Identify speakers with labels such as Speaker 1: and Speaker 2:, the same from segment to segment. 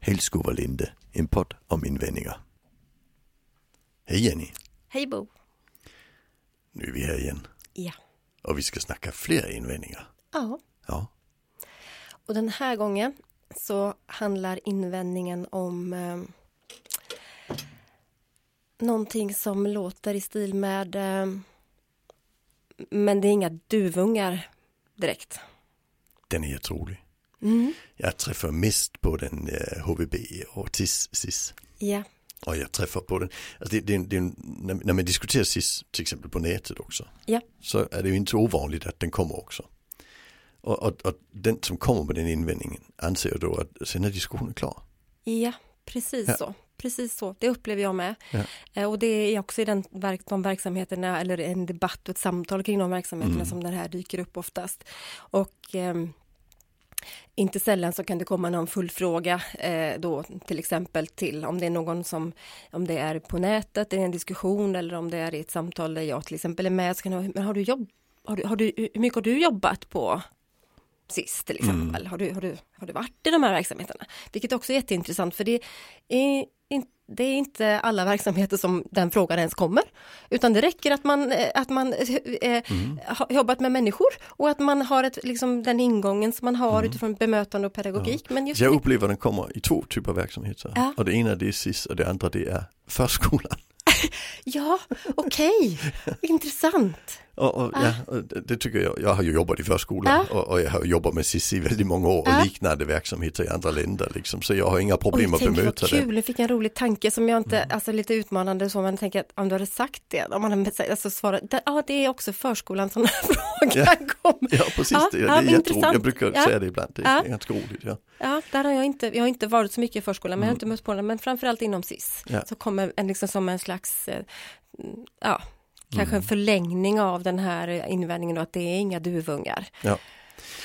Speaker 1: Hällskov och Linde, en podd om invändningar. Hej Jenny,
Speaker 2: Hej Bo.
Speaker 1: nu är vi här igen
Speaker 2: Ja.
Speaker 1: och vi ska snacka fler invändningar.
Speaker 2: Ja.
Speaker 1: Ja,
Speaker 2: Och den här gången så handlar invändningen om eh, någonting som låter i stil med eh, men det är inga duvungar direkt.
Speaker 1: den är otrolig. Jag träffar mest på den eh, HVB och TIS, SIS.
Speaker 2: Ja.
Speaker 1: Och jag träffar på den, alltså det, det, är en- det, är en- när, när man diskuterar SIS till exempel på nätet också.
Speaker 2: Ja.
Speaker 1: så är det ju inte så ovanligt att den kommer också. Och, och, och den som kommer med den invändningen anser då att sen är diskussionen klar.
Speaker 2: Ja, precis
Speaker 1: Ja.
Speaker 2: så. Precis så, det upplever jag med.
Speaker 1: Ja.
Speaker 2: Eh, Och det är också i den verk, de verksamheterna, eller en debatt och ett samtal kring de verksamheterna som den här dyker upp oftast. Och ehm, inte sällan så kan det komma någon fullfråga eh, då till exempel till om det är någon som, om det är på nätet, det är en diskussion eller om det är i ett samtal där jag till exempel är med, så kan jag, men har du jobb, har du, har du, hur mycket har du jobbat på sist till exempel? Har, du, har, du, har du varit i de här verksamheterna? Vilket också är jätteintressant för det är, in, det är inte alla verksamheter som den frågan ens kommer. Utan det räcker att man, eh, att man eh, har jobbat med människor och att man har ett, liksom, den ingången som man har utifrån bemötande och pedagogik. Men just
Speaker 1: Så jag upplever att den kommer i två typer av verksamheter.
Speaker 2: Ja.
Speaker 1: Och det ena det är SIS och det andra det är förskolan.
Speaker 2: Ja, okej, intressant.
Speaker 1: Och, och, ja, och det det tycker jag, jag har ju jobbat i förskolan och, och jag har jobbat med SIS i väldigt många år och
Speaker 2: Ja.
Speaker 1: liknande verksamheter i andra länder. Liksom, så jag har inga problem
Speaker 2: Oj,
Speaker 1: att
Speaker 2: tänk vad
Speaker 1: bemöta det.
Speaker 2: kul, nu fick jag en rolig tanke som jag inte,
Speaker 1: Mm.
Speaker 2: alltså lite utmanande så, men jag tänker att om du hade sagt det, om man hade sagt- alltså svarat, ja ah, det är också förskolan som den här frågan kommer.
Speaker 1: Ja precis,
Speaker 2: Ja,
Speaker 1: det, det
Speaker 2: ja,
Speaker 1: är jätteroligt.
Speaker 2: men
Speaker 1: Jag
Speaker 2: intressant.
Speaker 1: brukar
Speaker 2: Ja.
Speaker 1: säga det ibland, det är
Speaker 2: Ja.
Speaker 1: ganska roligt. Ja.
Speaker 2: Ja, där har jag inte, jag har inte varit så mycket i förskolan, men jag har inte mött på den, men framförallt inom SIS.
Speaker 1: Mm. Ja.
Speaker 2: Så kommer en liksom som en slags, eh, mm, ja, kanske
Speaker 1: Mm.
Speaker 2: en förlängning av den här invändningen då, att det är inga duvungar.
Speaker 1: Ja.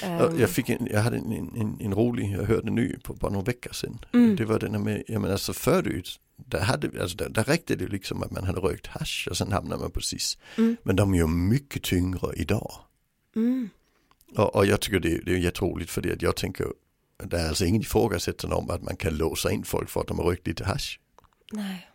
Speaker 2: Eh,
Speaker 1: Jag, jag, fick en, jag hade en, en, en, en rolig, jag hörde ny på bara några veckor sedan. Det var den här med, ja men alltså förut, där, hade, alltså där, där räckte det liksom att man hade rökt hasch och sen hamnade man precis. Men de är ju mycket tyngre idag.
Speaker 2: mm,
Speaker 1: Och, och jag tycker det, det är jätteroligt för det att jag tänker, det är alltså ingen ifrågasättande om att man kan låsa in folk för att de har rökt lite hasch.
Speaker 2: nej.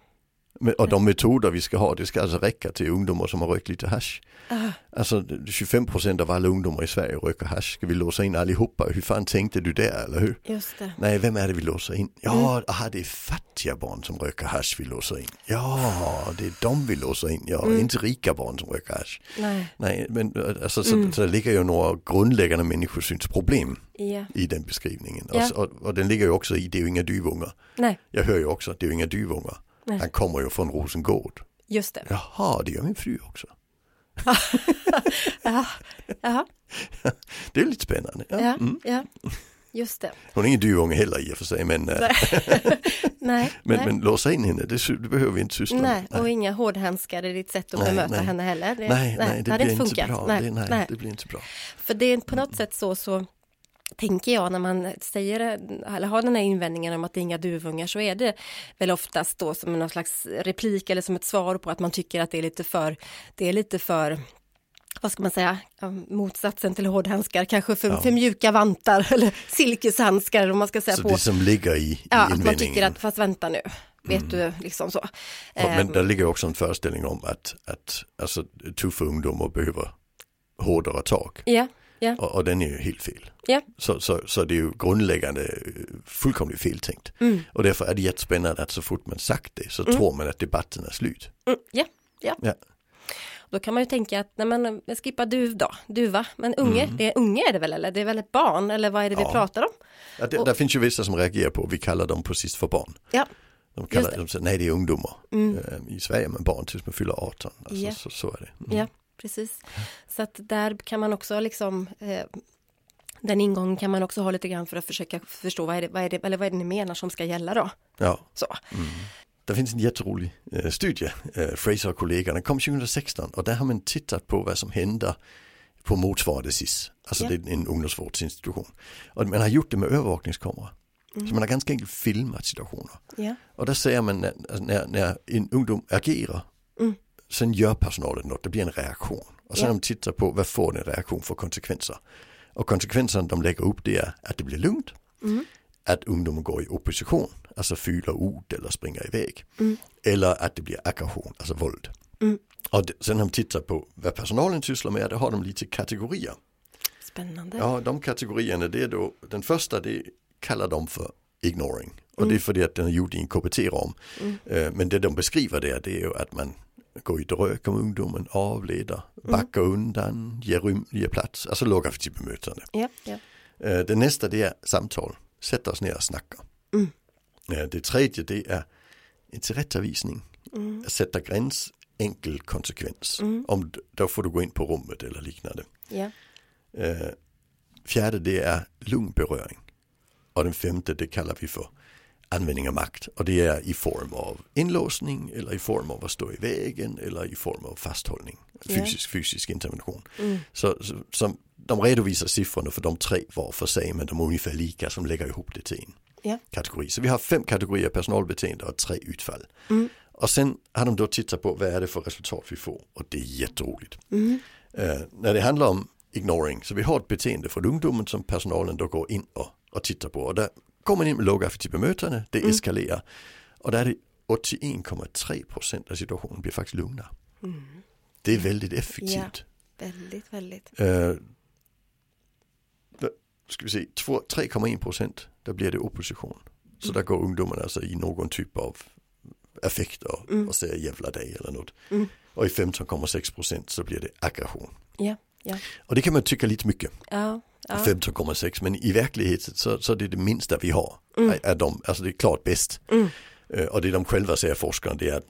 Speaker 1: Men, och de metoder vi ska ha, det ska alltså räcka till ungdomar som har rökt lite hasch.
Speaker 2: Ah,
Speaker 1: Alltså 25% av alla ungdomar i Sverige röker hasch. Ska vi låsa in allihopa? Hur fan tänkte du där, eller hur?
Speaker 2: just det.
Speaker 1: Nej, vem är det vi låser in?
Speaker 2: Mm.
Speaker 1: Ja, aha, det är fattiga barn som röker hasch vi låser in. Ja, det är de vi låser in. Ja,
Speaker 2: Mm.
Speaker 1: inte rika barn som röker hasch.
Speaker 2: Nej,
Speaker 1: Nej, men eh, alltså, så,
Speaker 2: Mm.
Speaker 1: så det ligger ju några grundläggande människosynsproblem
Speaker 2: ja.
Speaker 1: i den beskrivningen. Alltså,
Speaker 2: Ja.
Speaker 1: Och, och, och den ligger ju också i, det är ju inga dyvungar.
Speaker 2: nej,
Speaker 1: Jag hör ju också, det är ju inga dyvungar.
Speaker 2: Nej.
Speaker 1: Han kommer ju från Rosengård.
Speaker 2: just det.
Speaker 1: Jaha, det gör min fru också.
Speaker 2: Ja, ja,
Speaker 1: Det är lite spännande. Ja. Mm.
Speaker 2: ja, ja. just det.
Speaker 1: Hon är ingen dyvunge heller i och för sig, men, eh,
Speaker 2: Nej,
Speaker 1: men,
Speaker 2: nej.
Speaker 1: men låsa in henne, det, sy- det behöver vi inte syssla med.
Speaker 2: Nej, och inga hårdhandskar i ditt sätt att
Speaker 1: Nej,
Speaker 2: bemöta
Speaker 1: nej.
Speaker 2: henne heller. Det,
Speaker 1: Nej, nej, det
Speaker 2: hade
Speaker 1: blir inte
Speaker 2: funkat.
Speaker 1: bra.
Speaker 2: Nej,
Speaker 1: Det, nej,
Speaker 2: nej.
Speaker 1: det blir inte bra.
Speaker 2: För det är på något sätt så, så tänker jag när man säger eller har den här invändningen om att det är inga duvungar så är det väl oftast då som någon slags replik eller som ett svar på att man tycker att det är lite för, det är lite för vad ska man säga, ja, motsatsen till hårdhandskar, kanske för, för mjuka vantar eller silkeshandskar eller vad man ska säga
Speaker 1: Så
Speaker 2: på.
Speaker 1: det som ligger i,
Speaker 2: ja,
Speaker 1: i
Speaker 2: att man tycker
Speaker 1: invändningen.
Speaker 2: att, fast vänta nu,
Speaker 1: Mm.
Speaker 2: vet du, liksom så.
Speaker 1: Och- Men
Speaker 2: Ehm,
Speaker 1: där ligger också en föreställning om att, att alltså, tuffa ungdomar behöver hårdare tag.
Speaker 2: ja, ja,
Speaker 1: Och, och den är ju helt fel.
Speaker 2: ja,
Speaker 1: Så, så, så det är ju grundläggande eh, fullkomligt feltänkt.
Speaker 2: Mm.
Speaker 1: Och därför är det jättespännande att så fort man sagt det så tror man att debatten är slut.
Speaker 2: mm, ja, ja.
Speaker 1: Ja.
Speaker 2: Då kan man ju tänka att nej, men, jag skippar duv då, duva, men unge, det är unge är det väl eller? Det är väl ett barn eller vad är det vi
Speaker 1: Mm. Ja.
Speaker 2: pratar om?
Speaker 1: Ja, det, där finns ju vissa som reagerar på, vi kallar dem precis för barn.
Speaker 2: Ja,
Speaker 1: De kallar
Speaker 2: det. Mm.
Speaker 1: dem, så, nej det är ungdomar. Eh, I Sverige är man barn tills man fyller 18. Alltså,
Speaker 2: Ja.
Speaker 1: så, så är det.
Speaker 2: ja precis. Så att där kan man också liksom eh, den ingången kan man också ha lite grann för att försöka förstå vad är det, vad är det, eller vad är det ni menar som ska gälla då?
Speaker 1: Ja.
Speaker 2: Så.
Speaker 1: Mm. Det finns en jätterolig eh, studie, eh, Fraser och kollegor, den kom 2016 och där har man tittat på vad som händer på motsvarande SIS, alltså
Speaker 2: Ja.
Speaker 1: det är en ungdomsvårdsinstitution. Och man har gjort det med övervakningskamera.
Speaker 2: Mm.
Speaker 1: Så man har ganska enkelt filmat situationer.
Speaker 2: Ja,
Speaker 1: Och där ser man när, alltså när, när en ungdom agerar, sen gör personalen något, det blir en reaktion. Och sen
Speaker 2: Mm. Ja.
Speaker 1: har de tittar på vad får den reaktion för konsekvenser. Och konsekvenserna de lägger upp det är att det blir lugnt
Speaker 2: Mm.
Speaker 1: att ungdomar går i opposition, alltså fyller ut eller springer iväg.
Speaker 2: Mm.
Speaker 1: Eller att det blir aggression, alltså våld.
Speaker 2: Mm.
Speaker 1: Och det, sen när de tittar på vad personalen sysslar med, då har de lite kategorier.
Speaker 2: Spännande.
Speaker 1: Ja, de kategorierna, det är då, den första det kallar de för ignoring. Och
Speaker 2: Mm.
Speaker 1: det är för det att den är gjord i en KBT-ram.
Speaker 2: Mm.
Speaker 1: Eh, Men det de beskriver där, det är ju att man går i drök om ungdomen, avleder,
Speaker 2: Mm.
Speaker 1: backar undan, ger, rym, ger plats, alltså låga till bemötande.
Speaker 2: Ja, ja.
Speaker 1: Eh, Det nästa det är samtal, sätta oss ner och snacka.
Speaker 2: Mm.
Speaker 1: Eh, Det tredje det är en tillrättavisning,
Speaker 2: Mm.
Speaker 1: sätta gräns, enkel konsekvens.
Speaker 2: Mm.
Speaker 1: Om, d- då får du gå in på rummet eller liknande.
Speaker 2: ja.
Speaker 1: Eh, fjärde det är lugn beröring. Och den femte det kallar vi för användning av makt. Och det är i form av inlåsning eller i form av att stå i vägen eller i form av fasthållning.
Speaker 2: Ja.
Speaker 1: Fysisk, fysisk intervention.
Speaker 2: Mm.
Speaker 1: Så, så, som, de redovisar siffrorna för de tre var för sig men de är ungefär lika som lägger ihop det till en
Speaker 2: Ja.
Speaker 1: kategori. Så vi har fem kategorier personalbeteende och tre utfall.
Speaker 2: Mm.
Speaker 1: Och sen har de då tittat på vad är det för resultat vi får och det är jätteroligt.
Speaker 2: Mm.
Speaker 1: Eh, när det handlar om ignoring, så vi har ett beteende från ungdomen som personalen då går in och, och tittar på. Och där kommer man in med låga affektiva bemötande, det
Speaker 2: Mm.
Speaker 1: eskalerar. Och där är det 81,3 procent av situationen blir faktiskt lugna.
Speaker 2: Mm.
Speaker 1: Det är väldigt effektivt.
Speaker 2: Väldigt, väldigt.
Speaker 1: Eh, då ska vi se, två- 3,1 procent, där blir det opposition.
Speaker 2: Mm.
Speaker 1: Så där går ungdomarna alltså i någon typ av affekt och,
Speaker 2: Mm.
Speaker 1: och säger jävla dig eller något.
Speaker 2: Mm.
Speaker 1: Och i 15,6 procent så blir det aggression.
Speaker 2: Ja, ja.
Speaker 1: Och det kan man tycka lite mycket.
Speaker 2: Ja, ja.
Speaker 1: 15,6 men i verkligheten så, så är det det minsta vi har. Är, är de, alltså det är klart bäst.
Speaker 2: Mm.
Speaker 1: Eh, Och det de själva säger forskarna det är att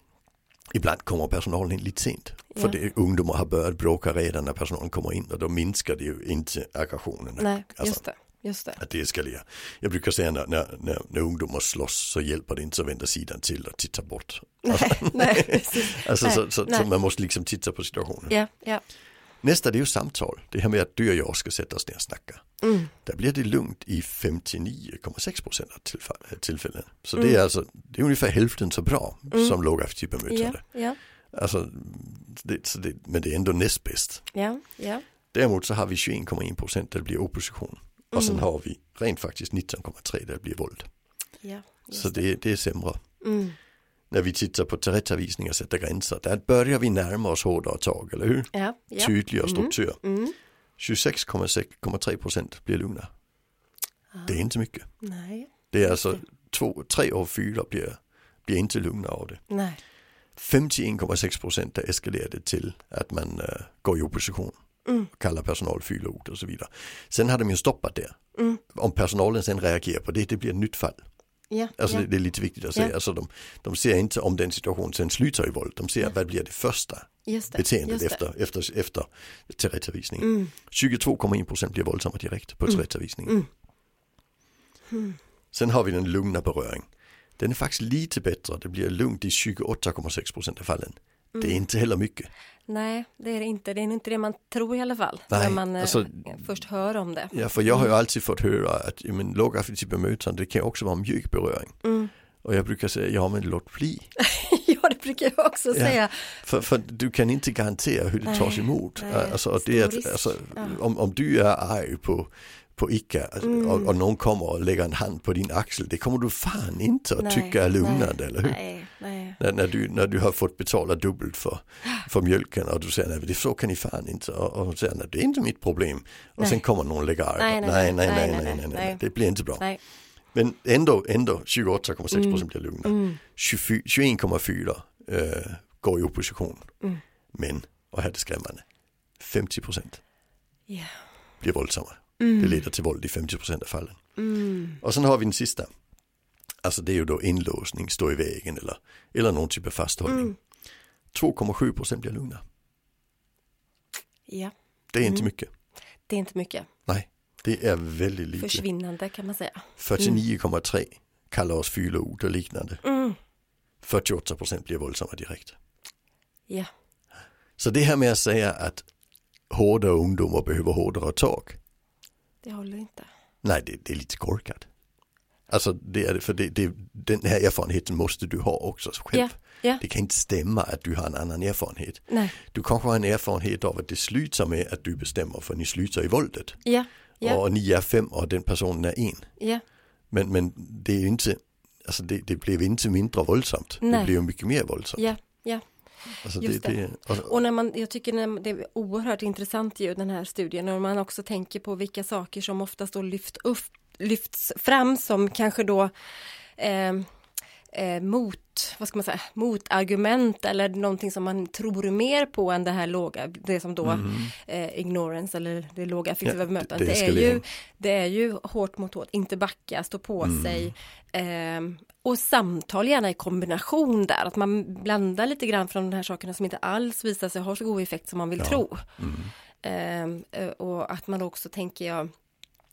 Speaker 1: ibland kommer personalen in lite sent. För
Speaker 2: Ja.
Speaker 1: det, ungdomar har börjat bråka redan när personalen kommer in och då minskar det ju inte aggressionen.
Speaker 2: Nej,
Speaker 1: Alltså,
Speaker 2: just det. Just det.
Speaker 1: att det eskalerar. Jag brukar säga när, när, när, när ungdomar slåss så hjälper det inte att vända sidan till och titta bort.
Speaker 2: Nej, nej, precis.
Speaker 1: Alltså,
Speaker 2: Nej,
Speaker 1: så, så, så
Speaker 2: nej.
Speaker 1: man måste liksom titta på situationen.
Speaker 2: Ja, ja.
Speaker 1: Nästa det är ju samtal. Det här med att du och jag ska sätta oss ner och snacka.
Speaker 2: Mm.
Speaker 1: Där blir det lugnt i 59,6 procent av tillfa- tillfällen. Så det är alltså det är ungefär hälften så bra som lågaffektivt
Speaker 2: Mm. Ja,
Speaker 1: bemötande.
Speaker 2: ja,
Speaker 1: Alltså, det, så det, men det är ändå näst bäst.
Speaker 2: ja, ja.
Speaker 1: Däremot så har vi 21,1 procent där det blir opposition. Och
Speaker 2: Mm.
Speaker 1: sen har vi rent faktiskt 19,3 där det blir våld.
Speaker 2: ja just
Speaker 1: Så det, det är sämre.
Speaker 2: Mm.
Speaker 1: När vi tittar på tillrättavisningar och sätter gränser, där börjar vi närma oss hårdare tag, eller hur?
Speaker 2: Ja, ja.
Speaker 1: Tydligare struktur.
Speaker 2: Mm.
Speaker 1: 26,3 procent blir lugna.
Speaker 2: Ah.
Speaker 1: Det är inte mycket.
Speaker 2: Nej,
Speaker 1: Det är alltså två, tre av fyra blir, blir inte lugna av det.
Speaker 2: nej.
Speaker 1: 51,6 procent där eskalerar det till att man eh, går i opposition.
Speaker 2: Mm.
Speaker 1: Kallar personal fyllord och så vidare. Sen har de ju stoppat det.
Speaker 2: Mm.
Speaker 1: Om personalen sen reagerar på det, det blir ett nytt fall.
Speaker 2: Ja,
Speaker 1: Alltså
Speaker 2: ja.
Speaker 1: det, det är lite viktigt att säga. Alltså de, de ser inte om den situationen sen slutar i våld. De ser vad blir det första
Speaker 2: just det.
Speaker 1: beteendet
Speaker 2: just det.
Speaker 1: efter, efter, efter tillrättavisningen.
Speaker 2: Mm.
Speaker 1: 22,1 procent blir våldsamma direkt på tillrättavisningen.
Speaker 2: Mm.
Speaker 1: Sen har vi den lugna beröring. Den är faktiskt lite bättre, det blir lugnt i 28,6 procent av fallen.
Speaker 2: Mm.
Speaker 1: Det är inte heller mycket.
Speaker 2: Nej, det är det inte. Det är inte det man tror i alla fall.
Speaker 1: Nej,
Speaker 2: när man eh,
Speaker 1: alltså-
Speaker 2: först hör om det.
Speaker 1: Ja, för jag har ju
Speaker 2: Mm.
Speaker 1: alltid fått höra att ja, men, lågaffektivt bemötande det kan också vara mjuk beröring.
Speaker 2: Mm.
Speaker 1: Och jag brukar säga, ja men låt bli.
Speaker 2: ja, det brukar jag också säga.
Speaker 1: För, för du kan inte garantera hur det
Speaker 2: Nej,
Speaker 1: tas emot.
Speaker 2: nej,
Speaker 1: alltså, och det är,
Speaker 2: stor risk.
Speaker 1: att- alltså,
Speaker 2: Ja.
Speaker 1: om, om du är arg på, på ICA alltså,
Speaker 2: Mm.
Speaker 1: och, och någon kommer och lägger en hand på din axel, det kommer du fan inte att
Speaker 2: Nej,
Speaker 1: tycka är lugnande, eller hur?
Speaker 2: Nej, nej.
Speaker 1: När, när, du, när du har fått betala dubbelt för, för mjölken och du säger nej, det så kan ni fan inte. Och, och hon säger nej, det är inte mitt problem. Och
Speaker 2: Nej.
Speaker 1: sen kommer någon och lägger arg.
Speaker 2: Nej, nej,
Speaker 1: nej, nej, nej, nej, nej, nej,
Speaker 2: nej.
Speaker 1: det blir inte bra.
Speaker 2: nej.
Speaker 1: Men ändå, ändå 28,6 procent blir lugna. 24 21,4 eh, går i opposition. Men, och här är det skrämmande, 50 procent
Speaker 2: Ja.
Speaker 1: blir våldsamma. Det leder till våld i 50 procent av fallen. Och sen har vi den sista. Alltså det är ju då inlåsning, stå i vägen eller, eller någon typ av fasthållning. 2,7 procent blir lugna.
Speaker 2: ja,
Speaker 1: Det är inte mycket.
Speaker 2: det är inte mycket.
Speaker 1: Nej, det är väldigt lite.
Speaker 2: Försvinnande kan man säga.
Speaker 1: 49,3 kallar oss fyllord och liknande.
Speaker 2: Mm.
Speaker 1: 48 procent blir våldsamma direkt.
Speaker 2: Ja,
Speaker 1: Så det här med att säga att hårdare ungdomar behöver hårdare tag.
Speaker 2: det håller inte.
Speaker 1: Nej, det, det är lite korkat. Alltså det är det, för det, det, den här erfarenheten måste du ha också själv.
Speaker 2: Ja, ja.
Speaker 1: Det kan inte stämma att du har en annan erfarenhet.
Speaker 2: Nej,
Speaker 1: Du kanske har en erfarenhet av att det slutar med att du bestämmer för ni slutar i våldet.
Speaker 2: ja, ja,
Speaker 1: Och ni är fem och den personen är en.
Speaker 2: ja,
Speaker 1: Men, men det är ju inte, alltså det, det blev inte mindre våldsamt. Det
Speaker 2: Nej.
Speaker 1: blev ju mycket mer våldsamt.
Speaker 2: Ja, ja.
Speaker 1: Alltså
Speaker 2: just det.
Speaker 1: alltså-
Speaker 2: Och när man, jag tycker när- det är oerhört intressant ju den här studien och man också tänker på vilka saker som oftast då lyft upp, lyfts fram som kanske då eh, eh, mot, vad ska man säga, motargument eller någonting som man tror mer på än det här låga, det som då eh, ignorance eller det låga affektiva
Speaker 1: Mm. Ja,
Speaker 2: bemötandet.
Speaker 1: det- det
Speaker 2: Det, är
Speaker 1: eskalering.
Speaker 2: ju, det är ju hårt mot hårt, inte backa, stå på
Speaker 1: Mm.
Speaker 2: sig. ehm, och samtal gärna i kombination där, att man blandar lite grann från de här sakerna som inte alls visar sig ha så god effekt som man vill tro.
Speaker 1: Mm.
Speaker 2: Ehm, eh, och att man också tänker jag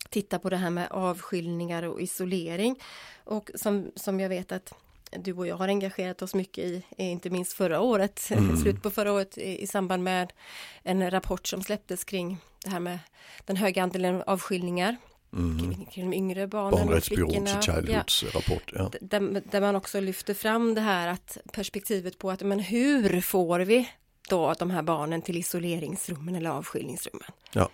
Speaker 2: titta på det här med avskiljningar och isolering. Och som, som jag vet att du och jag har engagerat oss mycket i, eh, inte minst förra året, slut på förra året i, i samband med en rapport som släpptes kring det här med den höga andelen avskiljningar kring, kring de yngre barnen och
Speaker 1: Barnrättsbyråns
Speaker 2: flickorna. Ja
Speaker 1: Childhoods rapport. Ja.
Speaker 2: där, där man också lyfter fram det här att perspektivet på att men hur får vi då de här barnen till isoleringsrummen eller avskiljningsrummen?
Speaker 1: Ja.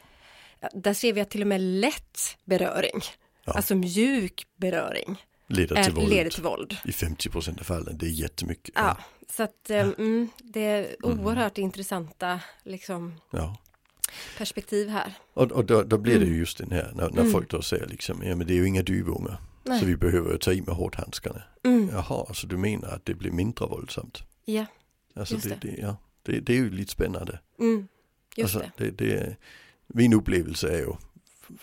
Speaker 2: Där ser vi att till och med lätt beröring,
Speaker 1: Ja.
Speaker 2: alltså mjuk beröring,
Speaker 1: Leder till
Speaker 2: är,
Speaker 1: våld
Speaker 2: Eh, leder till våld.
Speaker 1: i 50% av fallen. Det är jättemycket.
Speaker 2: Ja, så att eh, mm, det är oerhört intressanta liksom,
Speaker 1: Ja.
Speaker 2: perspektiv här.
Speaker 1: Och, och då, då blir
Speaker 2: Mm.
Speaker 1: det ju just den här när, när folk då säger liksom, ja men det är ju inga duvungar.
Speaker 2: Nej.
Speaker 1: Så vi behöver ta i med hårdhandskarna.
Speaker 2: Mm.
Speaker 1: Jaha, så du menar att det blir mindre våldsamt?
Speaker 2: Ja,
Speaker 1: Alltså
Speaker 2: Just
Speaker 1: det, det, ja, det, det är ju lite spännande.
Speaker 2: mm, just
Speaker 1: alltså, det. Det, är- min upplevelse är ju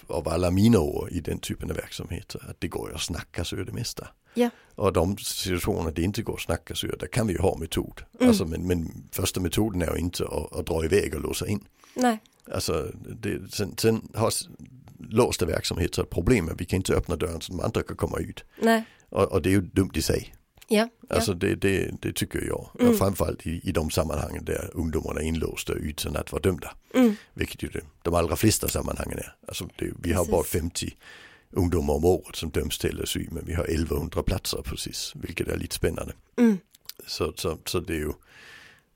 Speaker 1: av alla mina år i den typen av verksamheter att det går ju att snacka sig ur det mesta.
Speaker 2: Ja.
Speaker 1: Och de situationer det inte går att snacka sig ur, där kan vi ju ha metod.
Speaker 2: Mm.
Speaker 1: Alltså, men, men första metoden är ju inte att, att dra iväg och låsa in.
Speaker 2: det. Nej,
Speaker 1: Alltså, det, sen, sen har s- låsta verksamheter ett problem att vi kan inte öppna dörren så de andra kan komma ut.
Speaker 2: nej,
Speaker 1: Och, och det är ju dumt i sig.
Speaker 2: ja,
Speaker 1: Alltså det, det, det tycker jag.
Speaker 2: Mm.
Speaker 1: Och framförallt i, i de sammanhangen där ungdomarna är inlåsta utan att vara dömda.
Speaker 2: ja. Mm,
Speaker 1: Vilket ju det, de allra flesta sammanhangen är. Alltså det, vi har
Speaker 2: Precis.
Speaker 1: bara 50 ungdomar om året som döms till LSU men vi har 1100 platser precis. Vilket är lite spännande.
Speaker 2: mm,
Speaker 1: Så, så, så det är ju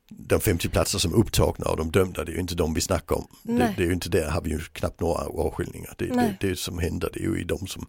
Speaker 1: de 50 platser som är upptagna och de dömda, det är ju inte de vi snackar om. Det,
Speaker 2: Nej.
Speaker 1: det är ju inte där har vi ju knappt några avskiljningar. Det, det,
Speaker 2: Nej.
Speaker 1: det som händer det är ju i de som,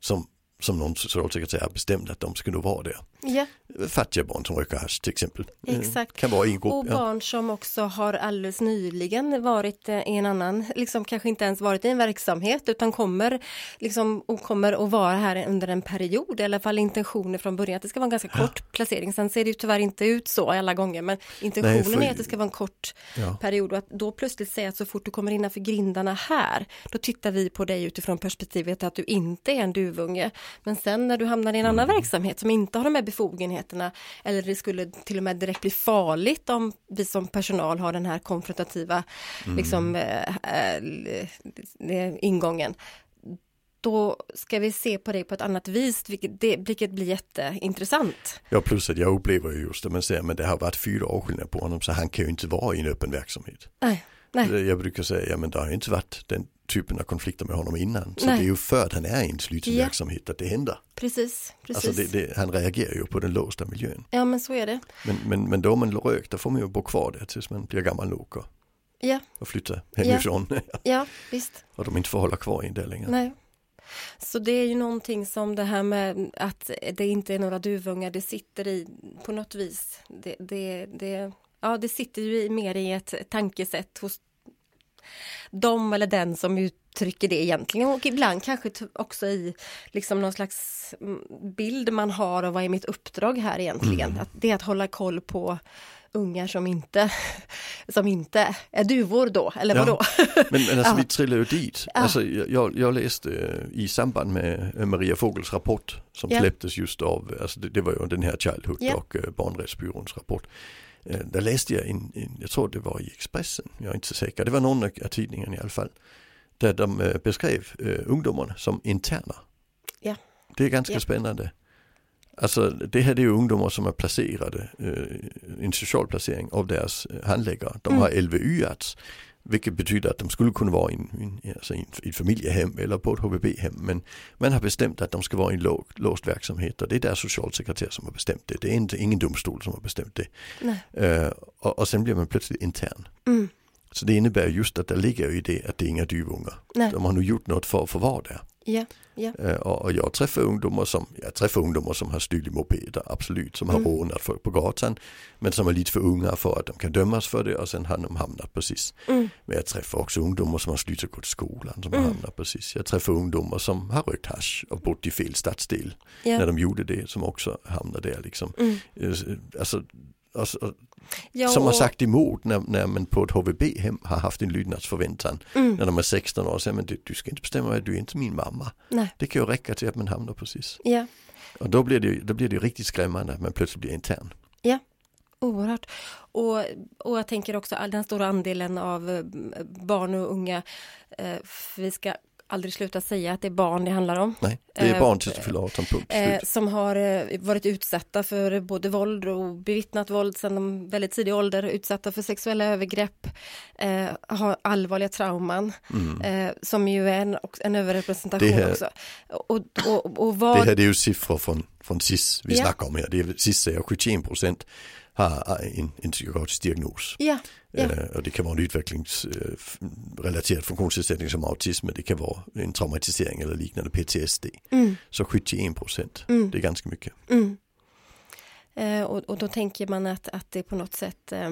Speaker 1: som, som någon socialsekreterare bestämde att de skulle vara där.
Speaker 2: ja.
Speaker 1: Fattiga barn som röker hasch till exempel. Eh,
Speaker 2: Exakt.
Speaker 1: Kan vara i en
Speaker 2: Och
Speaker 1: grupp. Ja.
Speaker 2: barn som också har alldeles nyligen varit eh, i en annan, liksom kanske inte ens varit i en verksamhet utan kommer liksom och kommer att vara här under en period, i alla fall intentioner från början att det ska vara en ganska kort placering. Sen ser det ju tyvärr inte ut så alla gånger, men intentionen
Speaker 1: för-
Speaker 2: är att det ska vara en kort
Speaker 1: Ja.
Speaker 2: period och att då plötsligt säga att så fort du kommer innanför grindarna här, då tittar vi på dig utifrån perspektivet att du inte är en duvunge. Men sen när du hamnar i en annan
Speaker 1: Mm.
Speaker 2: verksamhet som inte har de här befogenheterna, eller det skulle till och med direkt bli farligt om vi som personal har den här konfrontativa
Speaker 1: Mm.
Speaker 2: liksom, eh, eh, l- eh, ingången, då ska vi se på dig på ett annat vis, vilket, det, vilket blir jätteintressant.
Speaker 1: ja, plus att jag upplever ju just det man säger, men det har varit fyra avskiljningar på honom så han kan ju inte vara i en öppen verksamhet.
Speaker 2: Nej, nej,
Speaker 1: Jag brukar säga, ja men det har ju inte varit den typen av konflikter med honom innan. Så
Speaker 2: Nej.
Speaker 1: det är ju för att han är i en sluten
Speaker 2: Ja.
Speaker 1: verksamhet att det händer.
Speaker 2: precis. precis.
Speaker 1: Alltså det, det, han reagerar ju på den låsta miljön.
Speaker 2: Ja, men så är det.
Speaker 1: Men, men, men då man rök, då får man ju bo kvar där tills man blir gammal nog och,
Speaker 2: Ja,
Speaker 1: och flytta hemifrån.
Speaker 2: ja visst.
Speaker 1: och de inte får hålla kvar in där längre.
Speaker 2: Nej. Så det är ju någonting som det här med att det inte är några duvungar, det sitter i på något vis. Det, det, det, ja, det sitter ju i, mer i ett tankesätt hos dem eller den som uttrycker det egentligen och ibland kanske t- också i liksom någon slags mm, bild man har av vad är mitt uppdrag här egentligen. Att det är att hålla koll på ungar som inte, som inte är duvor då, eller
Speaker 1: Ja.
Speaker 2: vadå?
Speaker 1: Men, men alltså
Speaker 2: Ah.
Speaker 1: vi trillar ju dit. Alltså, jag- jag, jag läste eh, i samband med eh, Maria Fogels rapport som
Speaker 2: Ja.
Speaker 1: släpptes just av, eh, alltså det, det var ju den här Childhood
Speaker 2: Ja.
Speaker 1: och eh, barnrättsbyråns rapport. Eh, Där läste jag en, en, jag tror det var i Expressen, jag är inte så säker, det var någon av av tidningarna i alla fall. Där de eh, beskrev eh, ungdomarna som interna.
Speaker 2: Ja.
Speaker 1: Det är ganska
Speaker 2: Ja.
Speaker 1: spännande. Alltså det här det är ju ungdomar som är placerade, eh, en social placering av deras eh, handläggare.
Speaker 2: Mm.
Speaker 1: De har LVU-ats, vilket betyder att de skulle kunna vara i en- i en- alltså i en- i ett familjehem eller på ett HVB-hem. Men man har bestämt att de ska vara i en lå- låst verksamhet och det är deras socialsekreterare som har bestämt det. Det är inte, ingen domstol som har bestämt det.
Speaker 2: Nej.
Speaker 1: Eh, och, och sen blir man plötsligt intern.
Speaker 2: Mm.
Speaker 1: Så det innebär just att det ligger ju i det att det är inga duvungar.
Speaker 2: Nej.
Speaker 1: De har nu gjort något för att få vara där.
Speaker 2: Ja, ja.
Speaker 1: Eh, Och, och jag träffar ungdomar som, jag träffar ungdomar som har stulit mopeder, absolut, som har
Speaker 2: Mm.
Speaker 1: rånat folk på gatan. Men som är lite för unga för att de kan dömas för det och sen har de hamnat precis.
Speaker 2: Mm.
Speaker 1: Men jag träffar också ungdomar som har slutat gå till skolan som har
Speaker 2: Mm.
Speaker 1: hamnat precis. Jag träffar ungdomar som har rökt hasch och bott i fel stadsdel när
Speaker 2: Ja.
Speaker 1: de gjorde det som också hamnar där liksom.
Speaker 2: Mm.
Speaker 1: Eh, Alltså, alltså,
Speaker 2: Ja,
Speaker 1: som har
Speaker 2: och-
Speaker 1: sagt emot när, när man på ett HVB-hem har haft en lydnadsförväntan.
Speaker 2: Mm.
Speaker 1: När de är 16 år och säger men du, du ska inte bestämma mig, du är inte min mamma.
Speaker 2: Nej.
Speaker 1: Det kan ju räcka till att man hamnar precis.
Speaker 2: Ja.
Speaker 1: Och då blir det ju, då blir det ju riktigt skrämmande att man plötsligt blir intern.
Speaker 2: Oerhört. Och, och jag tänker också all den stora andelen av eh, barn och unga. Eh, för vi ska aldrig sluta säga att det är barn det handlar om.
Speaker 1: Nej, det är
Speaker 2: Eh,
Speaker 1: barn tills du fyller 18 punkt
Speaker 2: Eh,
Speaker 1: slut.
Speaker 2: som har eh, varit utsatta för både våld och bevittnat våld sedan de väldigt tidig ålder, utsatta för sexuella övergrepp, eh, har allvarliga trauman, eh, som ju är en, och- en överrepresentation
Speaker 1: Mm. Det här-
Speaker 2: också. Och, och, och
Speaker 1: Det
Speaker 2: vad...
Speaker 1: här det är ju siffror från, från SIS vi
Speaker 2: Ja.
Speaker 1: snackar om här. Det är, SIS säger 71 procent har en, en psykotisk diagnos.
Speaker 2: Ja, ja,
Speaker 1: Eh, och det kan vara en utvecklingsrelaterad funktionsnedsättning som autism, men det kan vara en traumatisering eller liknande PTSD.
Speaker 2: mm,
Speaker 1: Så 71 procent,
Speaker 2: Mm.
Speaker 1: det är ganska mycket.
Speaker 2: mm. Eh, och, och då tänker man att, att det på något sätt... Eh,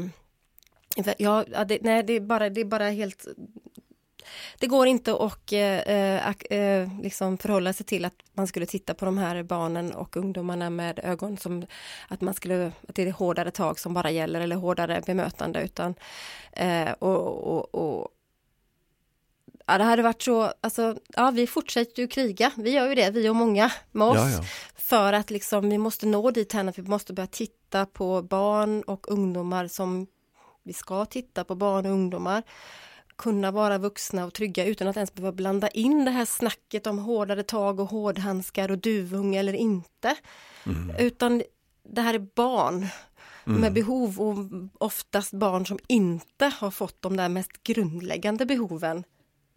Speaker 2: ja, ja, det, nej, det är, bara, det är bara helt... Det går inte att eh, eh, ak- eh, liksom förhålla sig till att man skulle titta på de här barnen och ungdomarna med ögon som att man skulle, att det är hårdare tag som bara gäller eller hårdare bemötande utan eh, och, och, och Ja, det hade varit så, alltså, ja, vi fortsätter ju kriga, vi gör ju det, vi och många med oss.
Speaker 1: Ja, ja.
Speaker 2: För att liksom, vi måste nå dit här, att vi måste börja titta på barn och ungdomar som vi ska titta på barn och ungdomar kunna vara vuxna och trygga utan att ens behöva blanda in det här snacket om hårdare tag och hårdhandskar och duvunge eller inte. Utan det här är barn med behov och oftast barn som inte har fått de där mest grundläggande behoven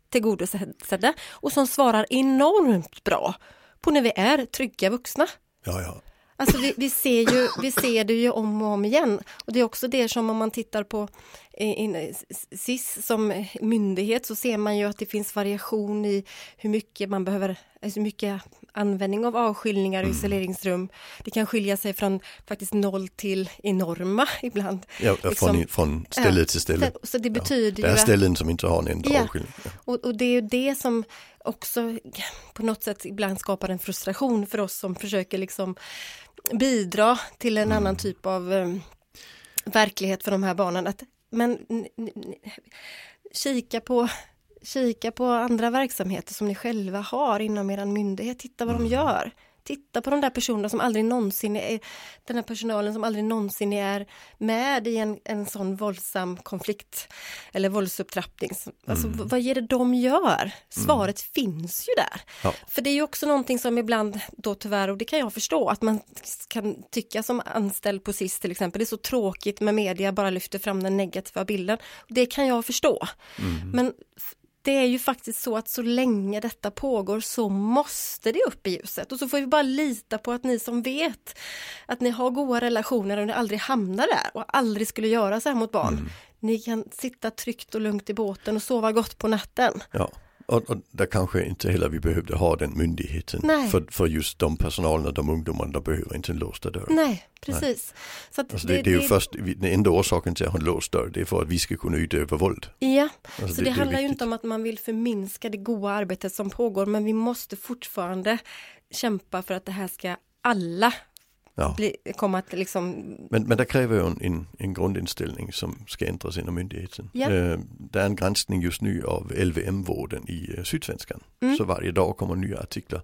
Speaker 2: tillgodosedda och som svarar enormt bra på när vi är trygga vuxna.
Speaker 1: Ja, ja.
Speaker 2: Alltså vi, vi, ser ju, vi ser det ju om och om igen. Och det är också det som om man tittar på eh, in- s- SIS som myndighet så ser man ju att det finns variation i hur mycket man behöver, alltså hur mycket användning av avskiljningar
Speaker 1: Mm.
Speaker 2: och isoleringsrum. Det kan skilja sig från faktiskt noll till enorma ibland.
Speaker 1: ja ja,
Speaker 2: Liksom-
Speaker 1: från, från ställe till ställe.
Speaker 2: Så det
Speaker 1: Det
Speaker 2: betyder
Speaker 1: är
Speaker 2: ju att
Speaker 1: ställen som inte har en enda
Speaker 2: Ja.
Speaker 1: avskiljning. Ja.
Speaker 2: och, och det är ju det som också på något sätt ibland skapar en frustration för oss som försöker liksom bidra till en annan typ av eh, verklighet för de här barnen. Att, men n- n- n- kika på Kika på andra verksamheter som ni själva har inom er myndighet. Titta vad de gör. Titta på de där personerna som aldrig någonsin är, den här personalen som aldrig någonsin är med i en, en sån våldsam konflikt eller våldsupptrappning. Alltså, v- Vad är det de gör? Svaret finns ju där.
Speaker 1: Ja.
Speaker 2: För det är ju också någonting som ibland då tyvärr, och det kan jag förstå, att man kan tycka som anställd på SIS till exempel, det är så tråkigt med media bara lyfter fram den negativa bilden. Det kan jag förstå.
Speaker 1: Mm.
Speaker 2: Men f- det är ju faktiskt så att så länge detta pågår så måste det upp i ljuset och så får vi bara lita på att ni som vet att ni har goda relationer och ni aldrig hamnar där och aldrig skulle göra så här mot barn.
Speaker 1: Mm.
Speaker 2: Ni kan sitta tryggt och lugnt i båten och sova gott på natten.
Speaker 1: Ja, och, och där kanske inte heller vi behövde ha den myndigheten
Speaker 2: Nej.
Speaker 1: för, för just de personalen och de ungdomarna, de behöver inte en låsta dörr.
Speaker 2: Nej, precis. Så att
Speaker 1: Alltså det, det, är ju först, vi- den enda orsaken till att ha en låst dörr, det är för att vi ska kunna utöva våld.
Speaker 2: Ja,
Speaker 1: Alltså
Speaker 2: så
Speaker 1: det-
Speaker 2: det,
Speaker 1: det är
Speaker 2: handlar ju
Speaker 1: viktigt.
Speaker 2: inte om att man vill förminska det goda arbetet som pågår, men vi måste fortfarande kämpa för att det här ska alla
Speaker 1: Ja.
Speaker 2: bli, komma att liksom,
Speaker 1: Men, men det kräver ju en, en, en grundinställning som ska ändras inom myndigheten.
Speaker 2: Ja.
Speaker 1: Eh, det är en granskning just nu av LVM-vården i eh, Sydsvenskan. Så varje dag kommer nya artiklar.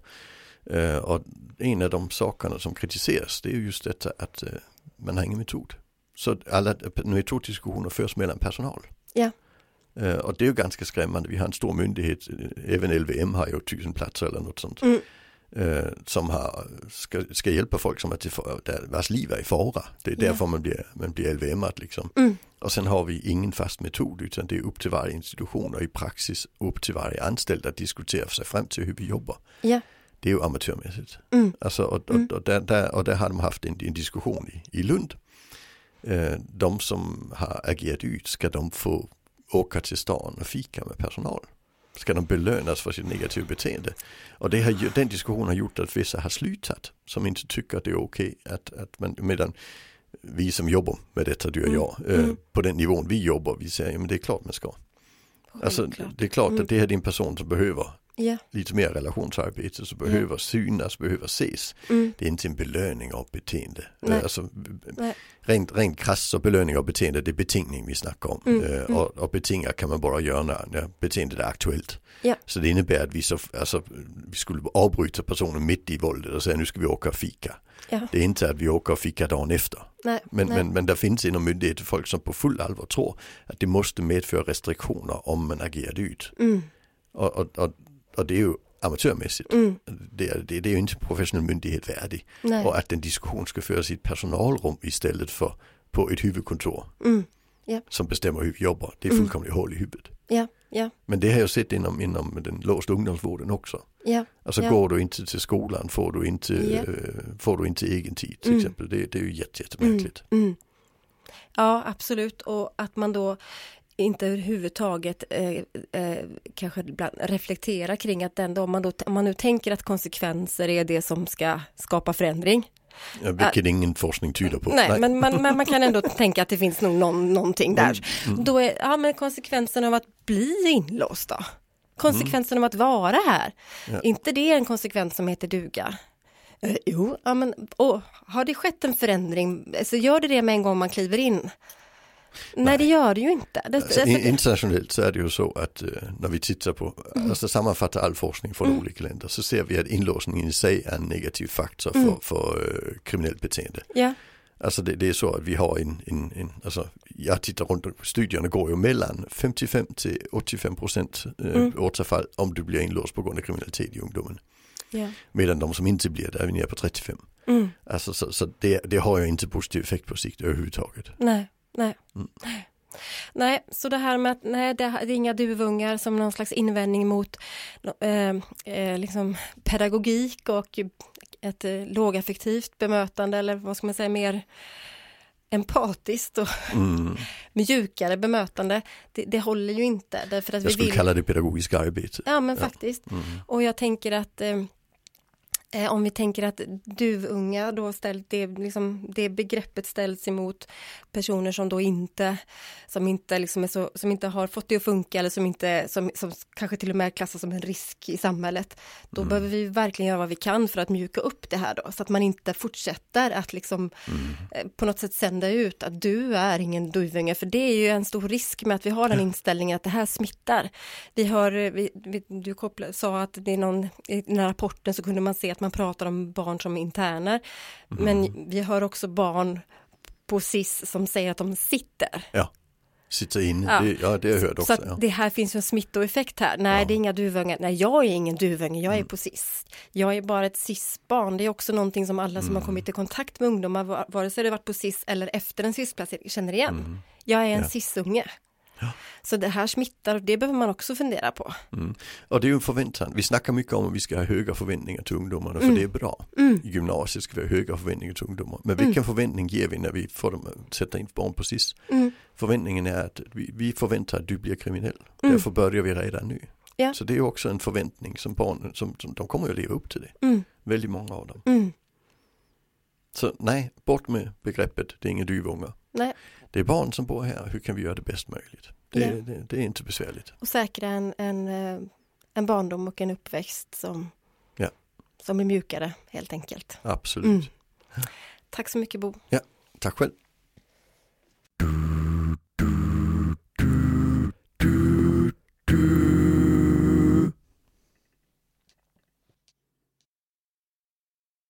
Speaker 1: Eh, och en av de sakerna som kritiseras det är ju just detta att eh, man har ingen metod. Så alla metoddiskussioner förs mellan personal.
Speaker 2: ja,
Speaker 1: Eh, och det är ju ganska skrämmande. Vi har en stor myndighet, eh, även LVM har ju tusen platser eller något sånt.
Speaker 2: Mm.
Speaker 1: Eh, som har, ska, ska hjälpa folk som är till, fa- där, vars liv är i fara. Det är
Speaker 2: Ja.
Speaker 1: därför man blir, man blir LVM-at liksom.
Speaker 2: Mm.
Speaker 1: Och sen har vi ingen fast metod utan det är upp till varje institution och i praxis upp till varje anställd att diskutera sig fram till hur vi jobbar.
Speaker 2: ja,
Speaker 1: Det är ju amatörmässigt.
Speaker 2: Mm.
Speaker 1: Alltså, och, och, och, där, där, och där har de haft en, en diskussion i, i Lund. Eh, de som har agerat ut, ska de få åka till stan och fika med personal? ska de belönas för sitt negativa beteende? Och det har, ju- den diskussionen har gjort att vissa har slutat som inte tycker att det är okej att, att man, medan vi som jobbar med detta, du och jag, eh, på den nivån vi jobbar, vi säger, men det är klart man ska. Alltså,
Speaker 2: Självklart.
Speaker 1: det är klart att det här är en person som behöver
Speaker 2: Ja,
Speaker 1: lite mer relationsarbete som
Speaker 2: Mm.
Speaker 1: behöver synas, behöver ses. Det är inte en belöning av beteende.
Speaker 2: Nej.
Speaker 1: Alltså,
Speaker 2: Nej.
Speaker 1: rent, rent krasst så belöning av beteende, det är betingning vi snackar om.
Speaker 2: Mm,
Speaker 1: Eh, Och, och betinga kan man bara göra när, när beteendet är aktuellt.
Speaker 2: Ja.
Speaker 1: Så det innebär att vi, så, alltså, vi skulle avbryta personen mitt i våldet och säga nu ska vi åka och fika.
Speaker 2: ja.
Speaker 1: Det är inte att vi åker och fika dagen efter.
Speaker 2: Nej,
Speaker 1: Men,
Speaker 2: nej.
Speaker 1: men, men där finns inom myndigheter folk som på full allvar tror att det måste medföra restriktioner om man agerar ut.
Speaker 2: Mm,
Speaker 1: Och, och, och, och det är ju amatörmässigt. Det, är, det, det är ju inte professionell myndighet värdig.
Speaker 2: mm, Nej.
Speaker 1: Och att en diskussion ska föras i ett personalrum istället för på ett huvudkontor.
Speaker 2: Mm, ja.
Speaker 1: Som bestämmer hur vi jobbar.
Speaker 2: Mm.
Speaker 1: Det är fullkomligt hål i huvudet.
Speaker 2: ja, ja,
Speaker 1: Men det har jag sett inom, inom den låsta ungdomsvården också.
Speaker 2: ja.
Speaker 1: Alltså
Speaker 2: Ja.
Speaker 1: går du inte till skolan får du inte,
Speaker 2: Ja. Mm.
Speaker 1: eh, får du inte egen tid till exempel. Det, det är ju jätte, jättemärkligt.
Speaker 2: Ja, absolut. Och att man då inte överhuvudtaget eh, eh, kanske ibland reflekterar kring att den då, om, man då, om man nu tänker att konsekvenser är det som ska skapa förändring.
Speaker 1: Ja, Vilket ingen forskning tyder på.
Speaker 2: Mm. Nej,
Speaker 1: Nej.
Speaker 2: Men, man, men man kan ändå tänka att det finns nog någon, någonting där.
Speaker 1: Mm.
Speaker 2: Då är ja, men konsekvensen av att bli inlåst då? Konsekvensen
Speaker 1: Mm.
Speaker 2: av att vara här, inte det är en konsekvens som heter duga? Eh, jo, ja, men, åh, har det skett en förändring? Alltså, gör det det med en gång man kliver in? Nej, det gör det ju inte. Det,
Speaker 1: Alltså,
Speaker 2: alltså,
Speaker 1: in- internationellt så är det ju så att eh, när vi tittar på,
Speaker 2: Mm.
Speaker 1: alltså sammanfattar all forskning från olika länder så ser vi att inlåsningen i sig är en negativ faktor för,
Speaker 2: Mm.
Speaker 1: för eh, kriminellt beteende.
Speaker 2: ja,
Speaker 1: Alltså det, det är så att vi har en, en, en alltså jag tittar runt, och studierna går ju mellan 55 till 85 procent eh,
Speaker 2: Mm.
Speaker 1: återfall om du blir inlåst på grund av kriminalitet i ungdomen.
Speaker 2: ja, Mm.
Speaker 1: Medan de som inte blir det är vi nere på 35. Alltså, så så det, det har ju inte positiv effekt på sikt överhuvudtaget.
Speaker 2: nej, nej.
Speaker 1: Mm.
Speaker 2: nej. Nej, så det här med att nej, det det är inga duvungar som någon slags invändning mot eh, eh, liksom pedagogik och ett eh, lågaffektivt bemötande eller vad ska man säga mer empatiskt och
Speaker 1: Mm.
Speaker 2: Alltså mjukare bemötande. Det, det håller ju inte därför att
Speaker 1: Jag
Speaker 2: vi
Speaker 1: skulle
Speaker 2: vill
Speaker 1: kalla det pedagogiska arbete.
Speaker 2: Ja Mm. men faktiskt. Och jag tänker att eh, eh, om vi tänker att duvunga då ställt det, liksom, det begreppet ställs emot personer som då inte som inte, liksom är så, som inte har fått det att funka eller som inte som, som kanske till och med klassas som en risk i samhället. Då behöver vi verkligen göra vad vi kan för att mjuka upp det här då så att man inte fortsätter att liksom eh, på något sätt sända ut att du är ingen duvunge, för det är ju en stor risk med att vi har den inställningen att det här smittar. Vi hör, eh, vi, vi, du koppla, sa att det är någon, i den här rapporten så kunde man se att man pratar om barn som interner, men vi hör också barn på SIS som säger att de sitter.
Speaker 1: Ja, sitta in,
Speaker 2: Ja.
Speaker 1: ja det, ja, det har jag hört
Speaker 2: Så
Speaker 1: också. ja.
Speaker 2: att det här finns ju en smittoeffekt här. Nej, det är inga duvungar. Nej, jag är ingen duvunge,
Speaker 1: Mm.
Speaker 2: jag är på SIS. Jag är bara ett SIS-barn. Det är också någonting som alla som
Speaker 1: Mm.
Speaker 2: har kommit i kontakt med ungdomar, va- vare sig det varit på SIS eller efter en SIS-placering, känner igen.
Speaker 1: Mm.
Speaker 2: Jag är en SIS-unge. Så det här smittar och det behöver man också fundera på.
Speaker 1: Och det är ju en förväntan. Vi snackar mycket om att vi ska ha höga förväntningar till ungdomarna
Speaker 2: Mm.
Speaker 1: för det är bra. I gymnasiet ska vi ha höga förväntningar till ungdomar. Men vilken
Speaker 2: Mm.
Speaker 1: förväntning ger vi när vi får dem øh, att sätta in barn på SIS?
Speaker 2: mm,
Speaker 1: Förväntningen är att vi, vi förväntar att du blir kriminell. Därför börjar vi redan nu.
Speaker 2: Mm. Ja.
Speaker 1: Så det är ju också en förväntning som barnen, som, som, de kommer ju att leva upp till det. Väldigt många av dem.
Speaker 2: Mm.
Speaker 1: Så nej, bort med begreppet, det är inga duvungar.
Speaker 2: Nej.
Speaker 1: Det är barn som bor här, hur kan vi göra det bäst möjligt? Det,
Speaker 2: Ja.
Speaker 1: det, det är inte besvärligt.
Speaker 2: Och säkra en, en, eh, en barndom och en uppväxt som,
Speaker 1: Ja.
Speaker 2: som är mjukare helt enkelt. Mm.
Speaker 1: Absolut.
Speaker 2: Tack så mycket Bo.
Speaker 1: Ja, tack själv.